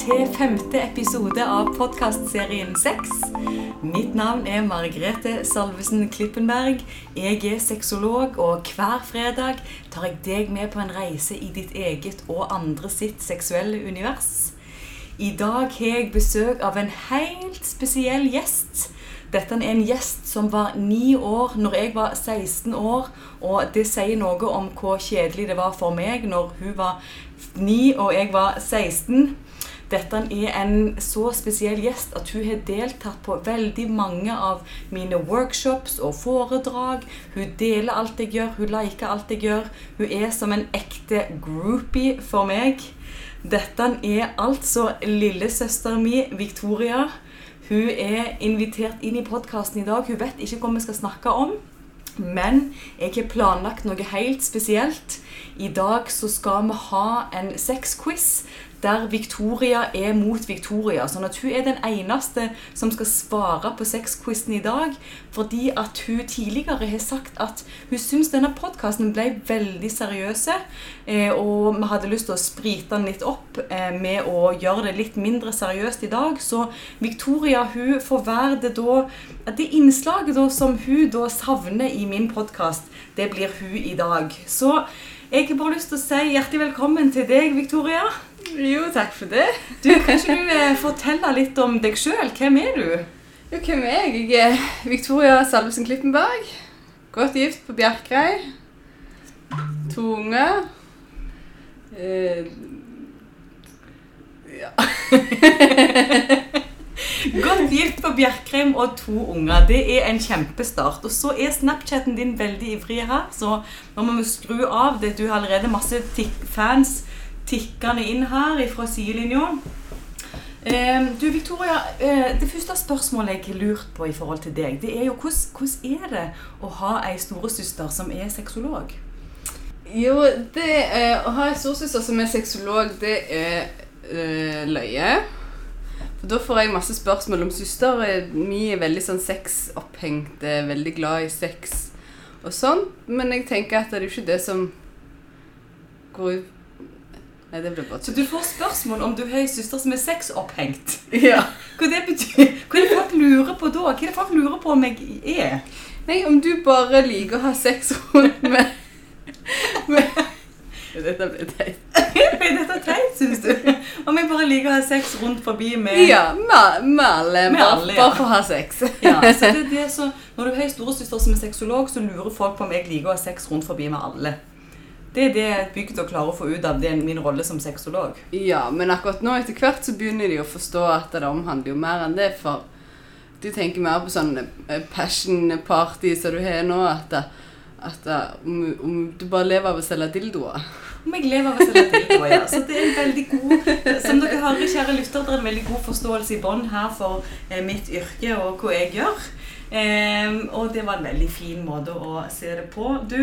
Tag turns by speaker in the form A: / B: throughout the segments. A: til femte episode av podkastserien Sex. Mitt navn er Margrethe Salvesen Klippenberg. Jeg er sexolog, og hver fredag tar jeg deg med på en reise i ditt eget og andre sitt seksuelle univers. I dag har jeg besøk av en helt spesiell gjest. Dette er en gjest som var ni år når jeg var 16 år, og det sier noe om hvor kjedelig det var for meg når hun var ni og jeg var 16. Dette er en så spesiell gjest at hun har deltatt på veldig mange av mine workshops og foredrag. Hun deler alt jeg gjør, hun liker alt jeg gjør. Hun er som en ekte groupie for meg. Dette er altså lillesøsteren min, Victoria. Hun er invitert inn i podkasten i dag. Hun vet ikke hva vi skal snakke om. Men jeg har planlagt noe helt spesielt. I dag så skal vi ha en sexquiz der Victoria er mot Victoria. Sånn at hun er den eneste som skal svare på sexquizen i dag. Fordi at hun tidligere har sagt at hun syns denne podkasten ble veldig seriøs. eh, Og vi hadde lyst til å sprite den litt opp eh, med å gjøre det litt mindre seriøst i dag. Så Victoria hun får være det da Det innslaget da som hun da savner i min podkast, det blir hun i dag. Så jeg har bare lyst til å si hjertelig velkommen til deg, Victoria.
B: Jo, takk for det.
A: Du, Kan ikke du eh, fortelle litt om deg sjøl? Hvem er du?
B: Jo, hvem er jeg? Jeg er Victoria Salvesen Klippenberg. Godt gift på Bjerkreim. To unger. Eh, ja.
A: Godt gift på Bjerkreim og to unger. Det er en kjempestart. Og så er Snapchaten din veldig ivrig her, så nå må vi skru av. Det du har allerede masse tikk fans tikkende inn her fra sidelinja. Eh, Du, Victoria, eh, det første spørsmålet jeg har lurt på i forhold til deg, det er jo hvordan, hvordan er det å ha ei storesøster som er sexolog?
B: Jo, det eh, å ha en storsøster som er sexolog, det er eh, løye. For da får jeg masse spørsmål om søster. Eh, Mi er veldig sånn sexopphengt, er veldig glad i sex og sånn. Men jeg tenker at det er jo ikke det som går ut Nei, det blir bare
A: Så du får spørsmål om du har ei søster som er sexopphengt.
B: Ja.
A: Hva det betyr? Hva er det folk lurer på da? Hva er det folk lurer på om jeg er?
B: Nei, om du bare liker å ha sex rundt med, med Dette blir teit.
A: Ble dette teit, syns du? Om jeg bare liker å ha sex rundt forbi med
B: Ja, med med alle.
A: Med alle,
B: Bare
A: ja.
B: bare for å ha sex.
A: Ja, så det er det som, Når du har en storesøster som er sexolog, så lurer folk på om jeg liker å ha sex rundt forbi med alle. Det er det jeg er bygd å klare å få ut av det er min rolle som sexolog.
B: Ja, men akkurat nå etter hvert så begynner de å forstå at det omhandler jo mer enn det, for du tenker mer på sånne eh, passion party som du har nå, at, det- at det- om, om du bare lever av å selge dildoer.
A: Om jeg lever av å selge dildoer, ja. Så det er en veldig god Som dere hører, kjære lytter, det er en veldig god forståelse i bånn her for eh, mitt yrke og hva jeg gjør. Ehm, og det var en veldig fin måte å se det på. Du,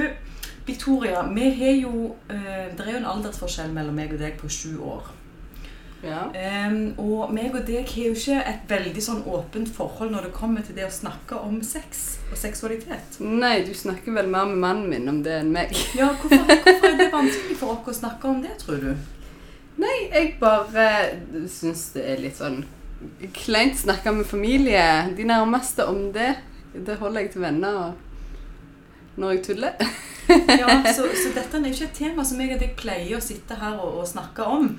A: Victoria, vi har jo eh, Det er jo en aldersforskjell mellom meg og deg på sju år.
B: Ja.
A: Ehm, og meg og deg har jo ikke et veldig sånn åpent forhold når det kommer til det å snakke om sex og seksualitet.
B: Nei, du snakker vel mer med mannen min om det enn meg.
A: Ja, hvorfor, hvorfor er det vanskelig for oss å snakke om det, tror du?
B: Nei, jeg bare eh, syns det er litt sånn kleint snakke med familie. De nærmeste om det. Det holder jeg til venner og når jeg tuller.
A: Ja, så, så dette er jo ikke et tema som jeg og deg pleier å sitte her og, og snakke om.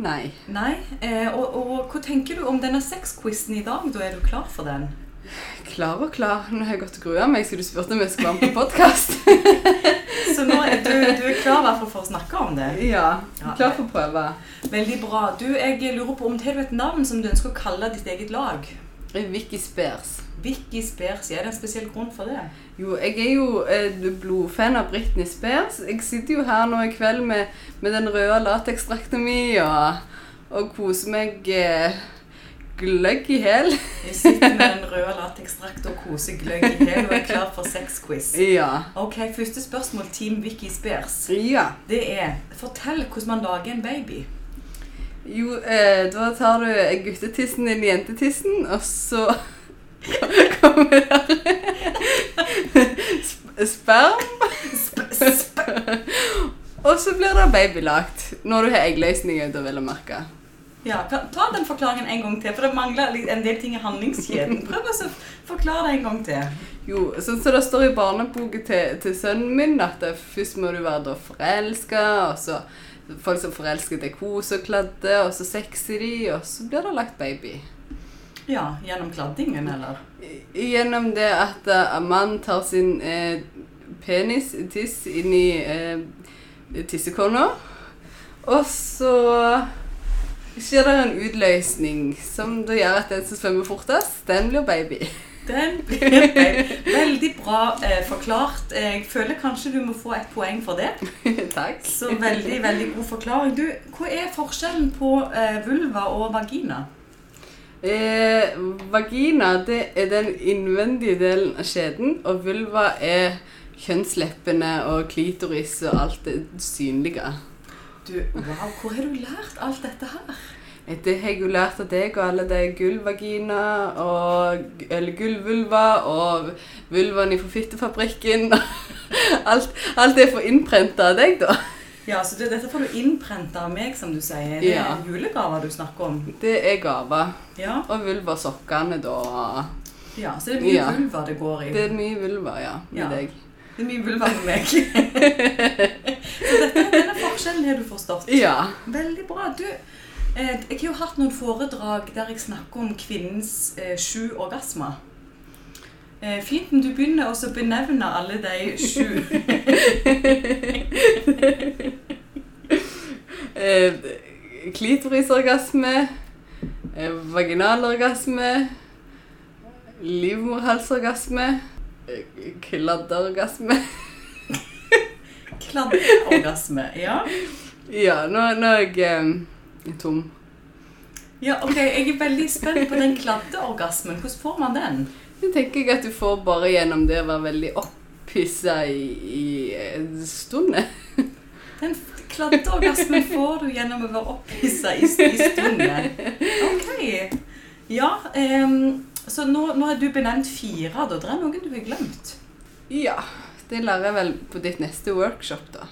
B: Nei.
A: Nei, eh, og, og hva tenker du om denne sexquizen i dag? Da er du klar for den?
B: Klar og klar. Nå har jeg gått og grua meg, så du spurte om jeg skulle være med på podkast.
A: Så nå er du, du er klar i hvert fall for å snakke om det?
B: ja. Klar for å prøve.
A: Veldig bra. Du, jeg lurer på om har du et navn som du ønsker å kalle ditt eget lag?
B: Vicky Spears.
A: Vicky Spears, er det en spesiell grunn for det?
B: Jo, jeg er jo eh, blodfan av Britney Spears. Jeg sitter jo her nå i kveld med, med den røde lateksdrakta mi og, og koser meg eh, gløgg i hæl.
A: Jeg sitter med den røde lateksdrakt og koser gløgg i hjel og er klar for sexquiz.
B: Ja.
A: Ok, første spørsmål, Team Vicky Spears.
B: ja.
A: Det er Fortell hvordan man lager en baby.
B: Jo, eh, da tar du guttetissen inn i jentetissen, og så kommer der sp- sperm, og så blir det baby lagt. Når du har eggløsninger, da vil jeg merke.
A: Ja, kan- Ta den forklaringen en gang til, for det mangler litt- en del ting i handlingskjeden. Prøv å så forklare det en gang til.
B: Jo, sånn som det står i barneboken til, til sønnen min, at det, først må du være da forelska, og så folk som forelsker deg, koser og kladder, og så sexer de, og så blir det lagt baby.
A: Ja, Gjennom kladdingen, eller?
B: I- Gjennom det at eh, en mann tar sin eh, penis, tiss, inn i eh, tissekonna, og så skjer det en utløsning som da gjør at den som svømmer fortest, den blir baby.
A: Den blir veld- veldig bra eh, forklart. Jeg føler kanskje du må få et poeng for det.
B: Takk.
A: Så veldig, veldig god forklaring. Du, hva er forskjellen på eh, vulva og vagina?
B: Eh, vagina det er den innvendige delen av skjeden, og vulva er kjønnsleppene og klitoris og alt det synlige.
A: Du, wow, hvor har du lært alt dette her?
B: Eh, Det har jeg jo lært av deg og alle de gullvagina og Eller gullvulva og vulvaen i Forfittefabrikken. Alt, alt er for innprenta av deg, da.
A: Ja, så det, Dette får du innprenta av meg, som du sier. Det
B: Ja.
A: er julegaver du snakker om.
B: Det er gaver.
A: Ja,
B: Og vulva sokkene, da.
A: ja Så det er mye
B: Ja.
A: vulva det går i.
B: Det er mye vulva, ja, med
A: Ja.
B: deg.
A: Det er mye vulva for meg. så dette, denne forskjellen har du forstått.
B: Ja.
A: Veldig bra. Du, eh, jeg har jo hatt noen foredrag der jeg snakker om kvinnens eh, sju orgasmer. Eh, fint om du begynner også å benevne alle de sju.
B: Eh, klitorisorgasme, eh, vaginalorgasme, livmorhalsorgasme, eh, kladderorgasme.
A: Kladdeorgasme. Ja.
B: Ja, nå, nå er jeg eh, tom.
A: ja, ok. Jeg er veldig spent på den kladdeorgasmen. Hvordan får man den?
B: Det tenker jeg at du får bare gjennom det å være veldig opphissa i, i eh, stundet.
A: Den kladdeorgasmen får du gjennom å være opphissa i, i stunden. Ok. Ja, ehm, så nå, nå har du benevnt fire. Da det er noen du har glemt.
B: Ja. Det lærer jeg vel på ditt neste workshop, da.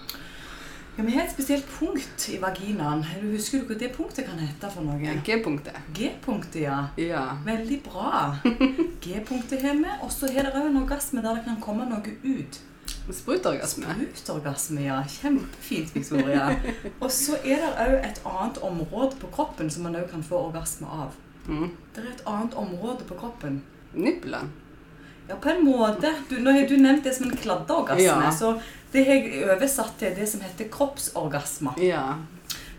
A: Ja, Vi har et spesielt punkt i vaginaen. Du Husker du hva det punktet kan hete for noe?
B: G-punktet.
A: G-punktet, ja.
B: Ja.
A: Veldig bra. G-punktet har vi. Og så har dere òg en orgasme der det kan komme noe ut.
B: Sprutorgasme.
A: Utorgasme, ja. Kjempefint, Victoria. Og så er det òg et annet område på kroppen som man òg kan få orgasme av.
B: Mm.
A: Det er et annet område på kroppen.
B: Nippelen.
A: Ja, på en måte. Du, nå har du nevnt det som en kladdeorgasme.
B: Ja.
A: Så det har jeg oversatt til det som heter kroppsorgasme.
B: Ja.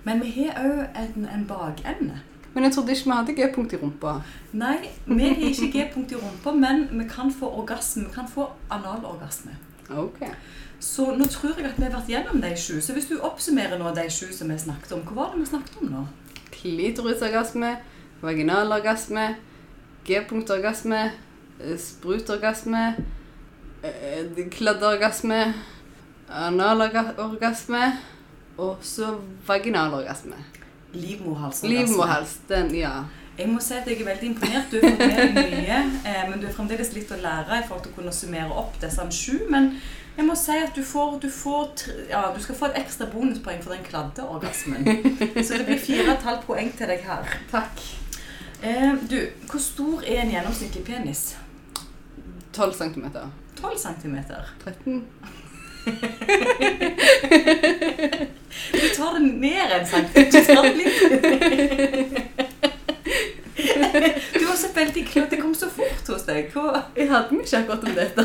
A: Men vi har òg en, en bakende.
B: Men jeg trodde ikke vi hadde G-punkt i rumpa.
A: Nei, vi har ikke G-punkt i rumpa, men vi kan få orgasme. Vi kan få analorgasme.
B: Ok.
A: Så nå tror jeg at vi har vært gjennom de sju. Så hvis du oppsummerer nå de sju som vi snakket om, hva var det vi snakket om nå?
B: Klitorisorgasme, vaginalorgasme, G-punktorgasme, eh, sprutorgasme, eh, kladdeorgasme, analorgasme og så vaginalorgasme.
A: Livmorhalsorgasme.
B: Livmorhals, den, ja.
A: Jeg må si at jeg er veldig imponert. Du er fremdeles mye, eh, men du er fremdeles litt å lære i forhold til å kunne summere opp disse sju. Men jeg må si at du får, du får tr- ja, du skal få et ekstra bonuspoeng for den kladdeorgasmen. Så det blir fire og et halvt poeng til deg her.
B: Takk.
A: Eh, du, hvor stor er en gjennomsnittlig penis?
B: 12 centimeter.
A: 12 cm.
B: 13.
A: Du tar det ned en centimeter. Du tar det litt Du var så veldig klønete. Det kom så fort hos deg. Hva?
B: Jeg hadde mye ikke akkurat om dette.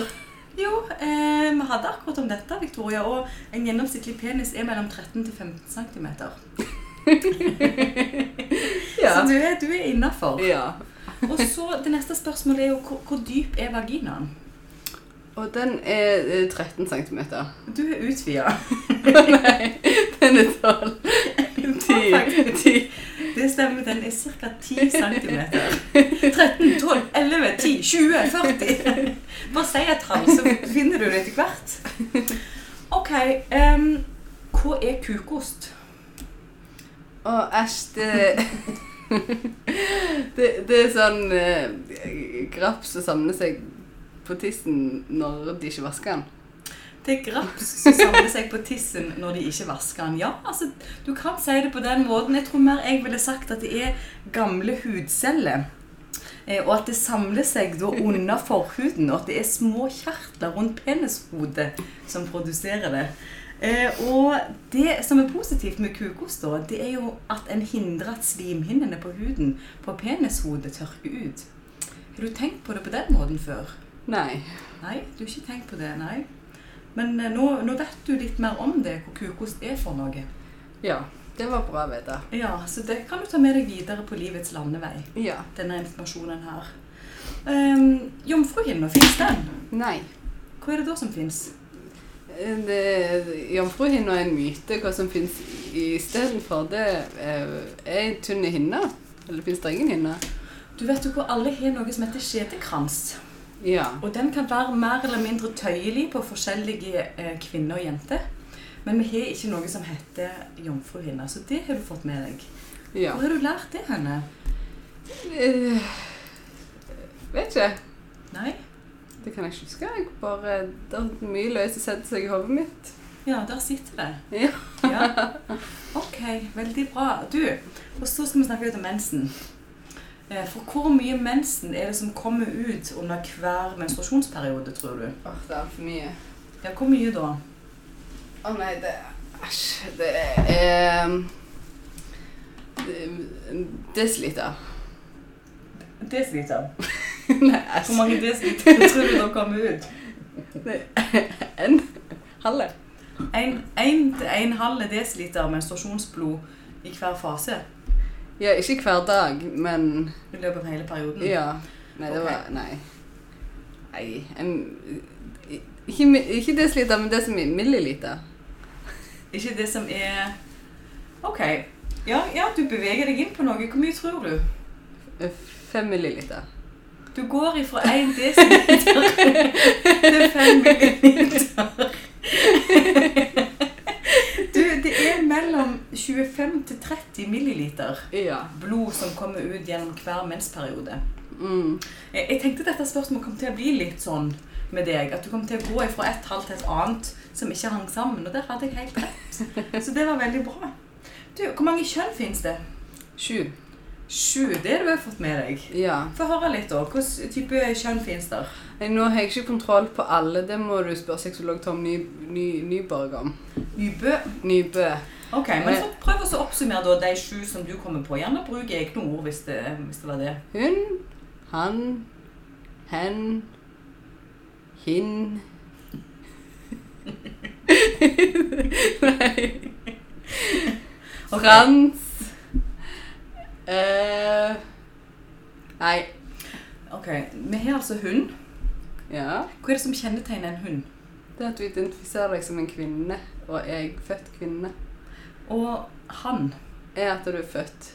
A: Jo, eh, vi hadde akkurat om dette, Victoria. Og en gjennomsnittlig penis er mellom 13 til 15 cm. Så
B: Ja.
A: du er, du er innafor.
B: ja.
A: Og så det neste spørsmålet er jo hvor, hvor dyp er vaginaen?
B: Og den er eh, 13 centimeter.
A: Du er utvida.
B: Nei, den er 12. 10. 10.
A: Det stemmer, den er ca. 10 cm. 13, 12, 11, 10, 20, 40. Bare si et tall, så finner du det etter hvert. OK. em, hva er kukost?
B: Å, æsj, det, det Det er sånn eh, graps som samler seg på tissen når de ikke vasker den.
A: Det er graps som samler seg på tissen når de ikke vasker den. Ja, altså, du kan si det på den måten. Jeg tror mer jeg ville sagt at det er gamle hudceller. Eh, Og at det samler seg da under forhuden, og at det er små kjertler rundt penishodet som produserer det. Eh, og det som er positivt med kukost, da, det er jo at en hindrer at slimhinnene på huden på penishodet tørker ut. Har du tenkt på det på den måten før?
B: Nei.
A: Nei, du har ikke tenkt på det, nei. Men eh, nå, nå vet du litt mer om det, hvor kukost er for noe.
B: Ja. Det var bra å vite.
A: Ja, så det kan du ta med deg videre på livets landevei,
B: Ja.
A: denne informasjonen her. Um, Jomfruhinna, fins den?
B: Nei.
A: Hva er det da som fins?
B: Det- Jomfruhinna eh, er en myte. Hva som fins istedenfor det, eh, er en tynn hinne. Eller fins det ingen hinne?
A: Du vet jo hvor alle har noe som heter skjedekrans.
B: Ja.
A: Og den kan være mer eller mindre tøyelig på forskjellige eh, kvinner og jenter. Men vi har ikke noe som heter jomfruhinne, så det har du fått med deg.
B: ja.
A: Hvor har du lært det henne?
B: Eh, Vet ikke.
A: Nei?
B: Det kan jeg ikke huske. Jeg bare, det er mye løst å sette seg i hodet mitt.
A: Ja, der sitter det.
B: Ja.
A: Ja. Ok, veldig bra. Du, og så skal vi snakke litt om mensen. Eh, For hvor mye mensen er det som kommer ut under hver menstruasjonsperiode, tror du?
B: Åh, det er for mye.
A: Ja, hvor mye da?
B: Å nei, det Æsj. Det er um, Desiliter.
A: Desiliter.
B: Nei,
A: Hvor
B: æsj.
A: mange desiliter tror du da kommer ut?
B: En halve.
A: En- en til en halv desiliter menstruasjonsblod i hver fase
B: Ja, ikke hver dag, men
A: i løpet av hele perioden.
B: Ja. Nei, det
A: Mm. Ok.
B: var Nei. Nei en, ikke, mi- ikke desiliter, men det som er milliliter.
A: Ikke det som er OK. Ja, ja, du beveger deg inn på noe. Hvor mye tror du?
B: Eh, Fem milliliter.
A: Du går ifra 1 desiliter til 5 milliliter. Du, det er mellom 25 til 30 milliliter
B: Ja.
A: blod som kommer ut gjennom hver mensperiode.
B: Mm.
A: Jeg jeg tenkte dette spørsmålet kom til å bli litt sånn med deg, at du kom til å gå ifra et tall til et annet som ikke hang sammen, og der hadde jeg helt rett. Så det var veldig bra. Du, hvor mange kjønn finnes det?
B: Sju.
A: Sju, det har du vel fått med deg.
B: Ja.
A: Få høre litt da, hvilken type kjønn finnes der?
B: Nei, Nå har jeg ikke kontroll på alle. Det må du spørre sexolog Tom ny, ny, Nyborg om.
A: Ubø
B: Nybø.
A: Ok, men så prøv også å oppsummere da de sju som du kommer på. Gjerne bruk egne ord hvis det, hvis det var det.
B: Hun, han, hen, hin. Nei.
A: Ok.
B: Frans. Eh, nei.
A: Ok, Vi har altså hund.
B: Ja.
A: Hva er det som kjennetegner en hund?
B: Det at du identifiserer deg som en kvinne, og er jeg født kvinne,
A: Og han.
B: er at du er født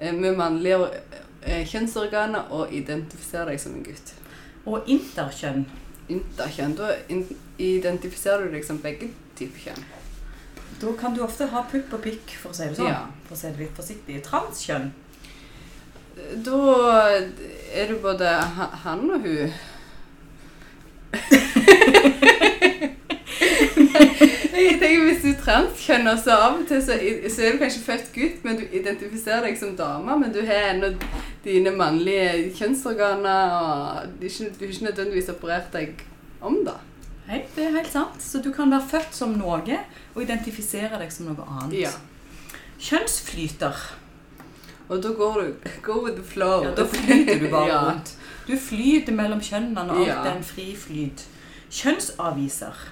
B: eh, med mannlige eh, kjønnsorganer og identifiserer deg som en gutt.
A: Og interkjønn.
B: interkjønn. Da in- identifiserer du deg som begge typer kjønn.
A: Da kan du ofte ha pupp og pikk, for å si det sånn.
B: Ja.
A: For å si det litt forsiktig. Transkjønn.
B: Da er du både ha- han og hun. Jeg tenker Hvis du er transkjønn, så av og til så, i- så er du kanskje født gutt, men du identifiserer deg som dame, men du har ennå dine mannlige kjønnsorganer, og det er ikke- du har ikke nødvendigvis operert deg om, da.
A: Hei, det er helt sant. Så du kan være født som noe og identifisere deg som noe annet. Kjønnsflyter.
B: Og da går du Go with the flow.
A: Ja, da flyter du bare
B: Ja.
A: rundt. Du flyter mellom kjønnene og
B: Ja.
A: alt er en fri flyt. Kjønnsaviser.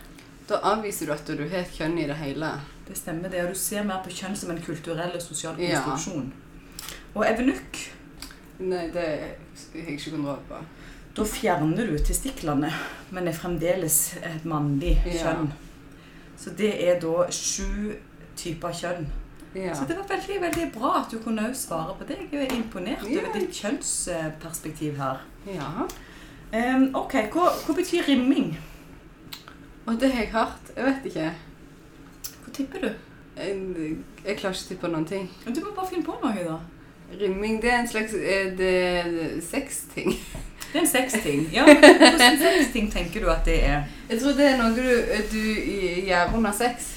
B: Da avviser du at du har et kjønn i det hele.
A: Det stemmer det, og du ser mer på kjønn som en kulturell og sosial
B: Ja.
A: konstruksjon. Og evenukk,
B: Nei, det har jeg ikke kontroll på.
A: da fjerner du testiklene, men er fremdeles et mannlig
B: Ja.
A: kjønn. Så det er da sju typer kjønn.
B: Ja.
A: Så det var veldig veldig bra at du kunne også svare på det. Jeg er imponert
B: Ja.
A: over ditt kjønnsperspektiv her.
B: ja.
A: Em, ok, hva, hva betyr rimming?
B: Og det har jeg hørt. Jeg vet ikke.
A: Hva tipper du?
B: Jeg, jeg klarer ikke å tippe noen ting.
A: Du må bare finne på noe, da.
B: Rimming, det er en slags eh, det, det, sexting.
A: Det er en sexting. Ja, Hvordan sexting tenker du at det er?
B: Jeg tror det er noe du, du gjør under sex.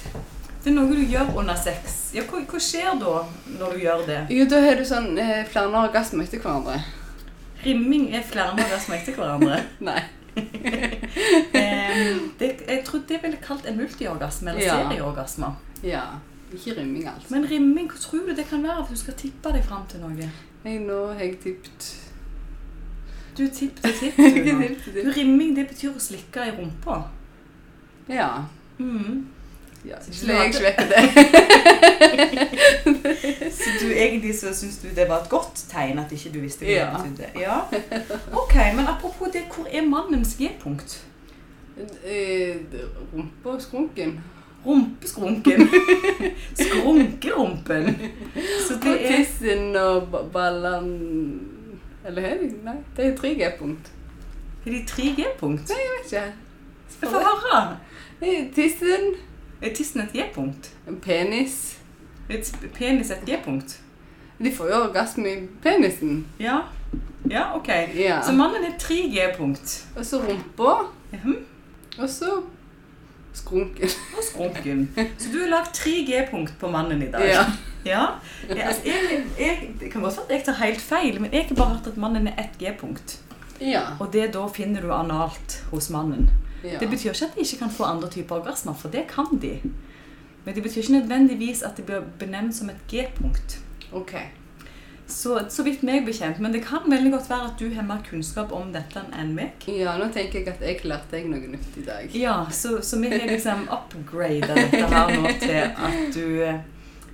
A: Det er noe du gjør under sex. Ja, hva, hva skjer da når du gjør det?
B: Jo, da har du sånn eh, flere orgasmer etter hverandre.
A: Rimming er flere orgasmer etter hverandre.
B: Nei.
A: Eh, det, jeg tror det ville kalt en multiorgasme eller
B: Ja.
A: serieorgasme.
B: Ja. Ikke rymming, altså.
A: Men rimming, hva tror du det kan være at du skal tippe deg fram til noe?
B: Nei, nå har jeg tippet.
A: Du tipp til tipp. du nå.
B: Tipp,
A: Du,
B: tipp.
A: rimming det betyr å slikke i rumpa.
B: Ja.
A: Mm.
B: ja.
A: Så du
B: Slik jeg
A: hadde-
B: slipper det.
A: Så du, egentlig så syns du det var et godt tegn at ikke du visste hva
B: Ja.
A: det betydde? Ja. Ok, men apropos det, hvor er mannens G-punkt?
B: Eh, Rumpa og skrunken.
A: Rumpeskrunken. Skrunkerumpen. Så
B: Og
A: det er
B: tissen og ba- ballen Eller er det Nei, det er tre G-punkt.
A: er de tre G-punkt.
B: Jeg vet ikke.
A: Få høre.
B: Eh, Tissen,
A: Er tissen et G-punkt?
B: penis
A: Er t- penis et G-punkt?
B: De får jo orgasme i penisen.
A: Ja. Ja, OK.
B: Ja.
A: Så mannen er tre G-punkt.
B: Og så rumpa,
A: Mhm.
B: og så skrunken.
A: Og skrunken. Så du har lagd tre G-punkt på mannen i dag.
B: Ja.
A: Ja, jeg, altså, jeg, jeg, Det kan godt være at jeg tar helt feil, men jeg har bare hørt at mannen er ett G-punkt.
B: ja.
A: Og det da finner du analt hos mannen.
B: ja.
A: Det betyr ikke at de ikke kan få andre typer orgasmer, for det kan de. Men det betyr ikke nødvendigvis at det blir benevnt som et G-punkt.
B: OK.
A: Så, så vidt meg bekjent, men det kan veldig godt være at du har mer kunnskap om dette enn meg.
B: Ja, nå tenker jeg at jeg lærte deg noe nytt i dag.
A: Ja, så, så vi har liksom upgrada dette her nå til at du eh,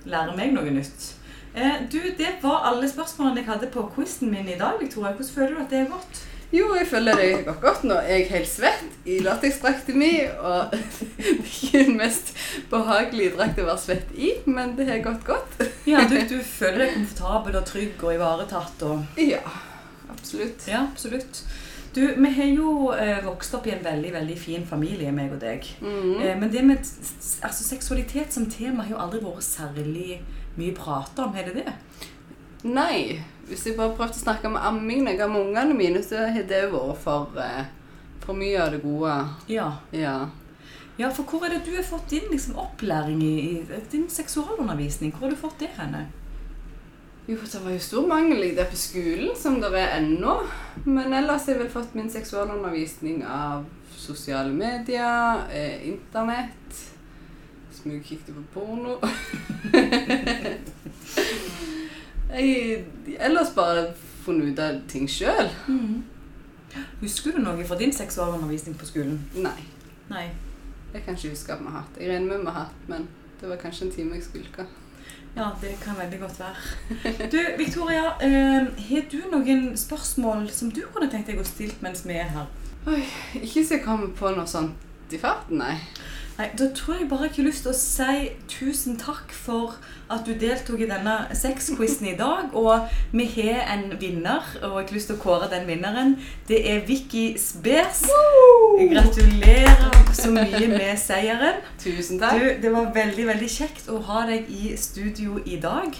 A: lærer meg noe nytt. Eh, du, det var alle spørsmålene jeg hadde på quizen min i dag, Victoria. Hvordan føler du at det er gått?
B: Jo, jeg føler det går godt nå. Jeg er helt svett i lateksdrakten min, og det er ikke den mest behagelige drakt å være svett i, men det har gått godt.
A: Ja, du, du føler deg komfortabel og trygg og ivaretatt og
B: Ja, absolutt.
A: Ja, absolutt. Du, vi har jo eh, vokst opp i en veldig, veldig fin familie, meg og deg.
B: Mhm.
A: Eh, men det med s- s- altså, seksualitet som tema har jo aldri vært særlig mye prata om, har det det?
B: Nei, hvis jeg bare prøvde å snakke med amming når jeg har med ungene mine, så har det jo vært for, eh, for mye av det gode.
A: Ja.
B: Ja.
A: Ja, for hvor er det du har fått din liksom, opplæring i, i din seksualundervisning? Hvor har du fått det henne?
B: Jo, det var jo stor mangel i det på skolen, som det er ennå. Men ellers har jeg vel fått min seksualundervisning av sosiale medier, eh, internett, smugkikket på porno. jeg ellers bare funnet ut av ting sjøl.
A: Mm. Husker du noe fra din seksualundervisning på skolen?
B: Nei,
A: Nei.
B: jeg kan ikke huske at vi har hatt. Jeg regner med vi har hatt, men det var kanskje en time jeg skulka.
A: Ja, det kan veldig godt være. Du, Victoria, eh, har du noen spørsmål som du kunne tenkt deg å stilt mens vi er her?
B: Ikke så jeg kommer på noe sånt i farten, nei.
A: Nei, Da tror jeg bare jeg har lyst til å si tusen takk for at du deltok i denne sexquizen i dag. Og vi har en vinner, og jeg har lyst til å kåre den vinneren. Det er Vicky Spes. Gratulerer så mye med seieren.
B: Tusen
A: Du,
B: takk.
A: det var veldig, veldig kjekt å ha deg i studio i dag.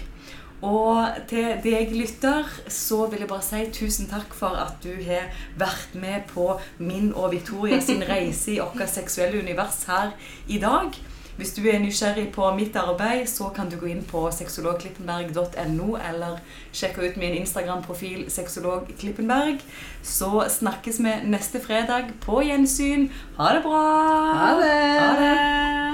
A: Og til deg lytter, så vil jeg bare si tusen takk for at du har vært med på min og Victoria sin reise i vårt seksuelle univers her i dag. Hvis du er nysgjerrig på mitt arbeid, så kan du gå inn på sexologklippenberg.no, eller sjekke ut min Instagram-profil sexologklippenberg. Så snakkes vi neste fredag. På gjensyn. Ha det bra!
B: Ha det.
A: Ha det.